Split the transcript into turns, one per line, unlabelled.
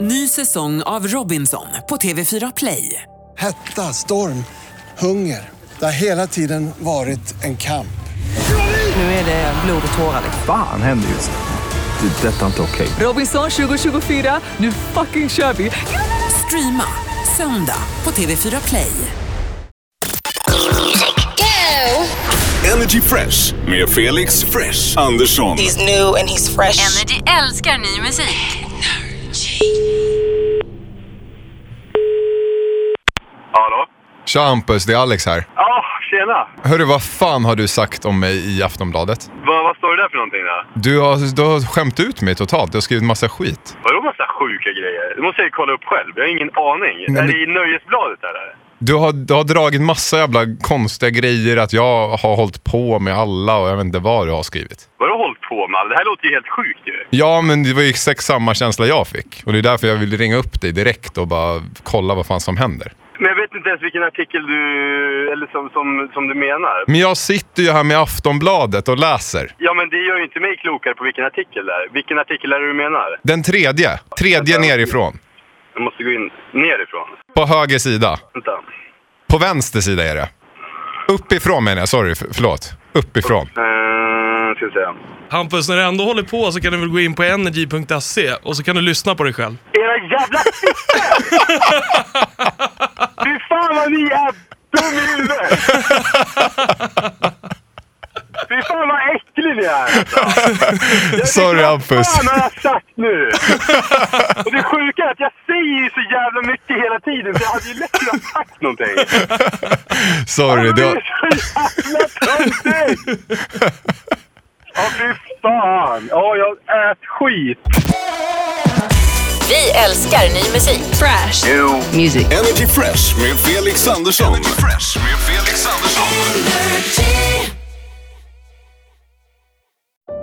Ny säsong av Robinson på TV4 Play.
Hetta, storm, hunger. Det har hela tiden varit en kamp.
Nu är det blod och tårar. liksom.
Fan händer just nu. Det. är Detta är inte okej.
Robinson 2024, nu fucking kör vi! Streama söndag på TV4 Play.
Energy Fresh med Felix Fresh Andersson.
He's new and he's fresh.
Energy älskar ny musik.
Hallå?
Tja Hampus, det är Alex här.
Ja, tjena!
Hörru, vad fan har du sagt om mig i Aftonbladet?
Vad, vad står det där för någonting då?
Du har, du har skämt ut mig totalt. Du har skrivit massa skit.
Vadå massa sjuka grejer? Det måste jag ju kolla upp själv. Jag har ingen aning.
men-
Är det i Nöjesbladet eller?
Du har, du har dragit massa jävla konstiga grejer att jag har hållit på med alla och jag vet inte vad du har skrivit.
Vadå hållit på med? Det här låter ju helt sjukt ju.
Ja, men det var ju exakt samma känsla jag fick. Och det är därför jag ville ringa upp dig direkt och bara kolla vad fan som händer.
Men jag vet inte ens vilken artikel du... Eller som, som, som du menar.
Men jag sitter ju här med Aftonbladet och läser.
Ja, men det gör ju inte mig klokare på vilken artikel det är. Vilken artikel är det du menar?
Den tredje. Tredje nerifrån.
Jag måste gå in nerifrån.
På höger sida.
Vänta.
På vänster sida är det. Uppifrån menar jag. Sorry, för- förlåt. Uppifrån.
Uh, ska vi se.
Hampus, när du ändå håller på så kan du väl gå in på energy.se E och så kan du lyssna på dig själv.
Era jävla fickor! Fy fan vad ni är dum i huvudet! Fy fan vad äcklig ni är!
Sorry
Vad
Hampus.
fan har jag sagt nu? Och det sjuka är att jag säger ju så jävla mycket hela tiden så jag hade ju lätt kunnat sagt någonting.
Sorry.
Det
Du
är
har...
så jävla töntigt! Ja fy fan! Ja, jag ät skit!
Vi älskar ny musik. Fresh.
Energy Fresh med Felix Andersson. Energy Fresh med Felix Andersson.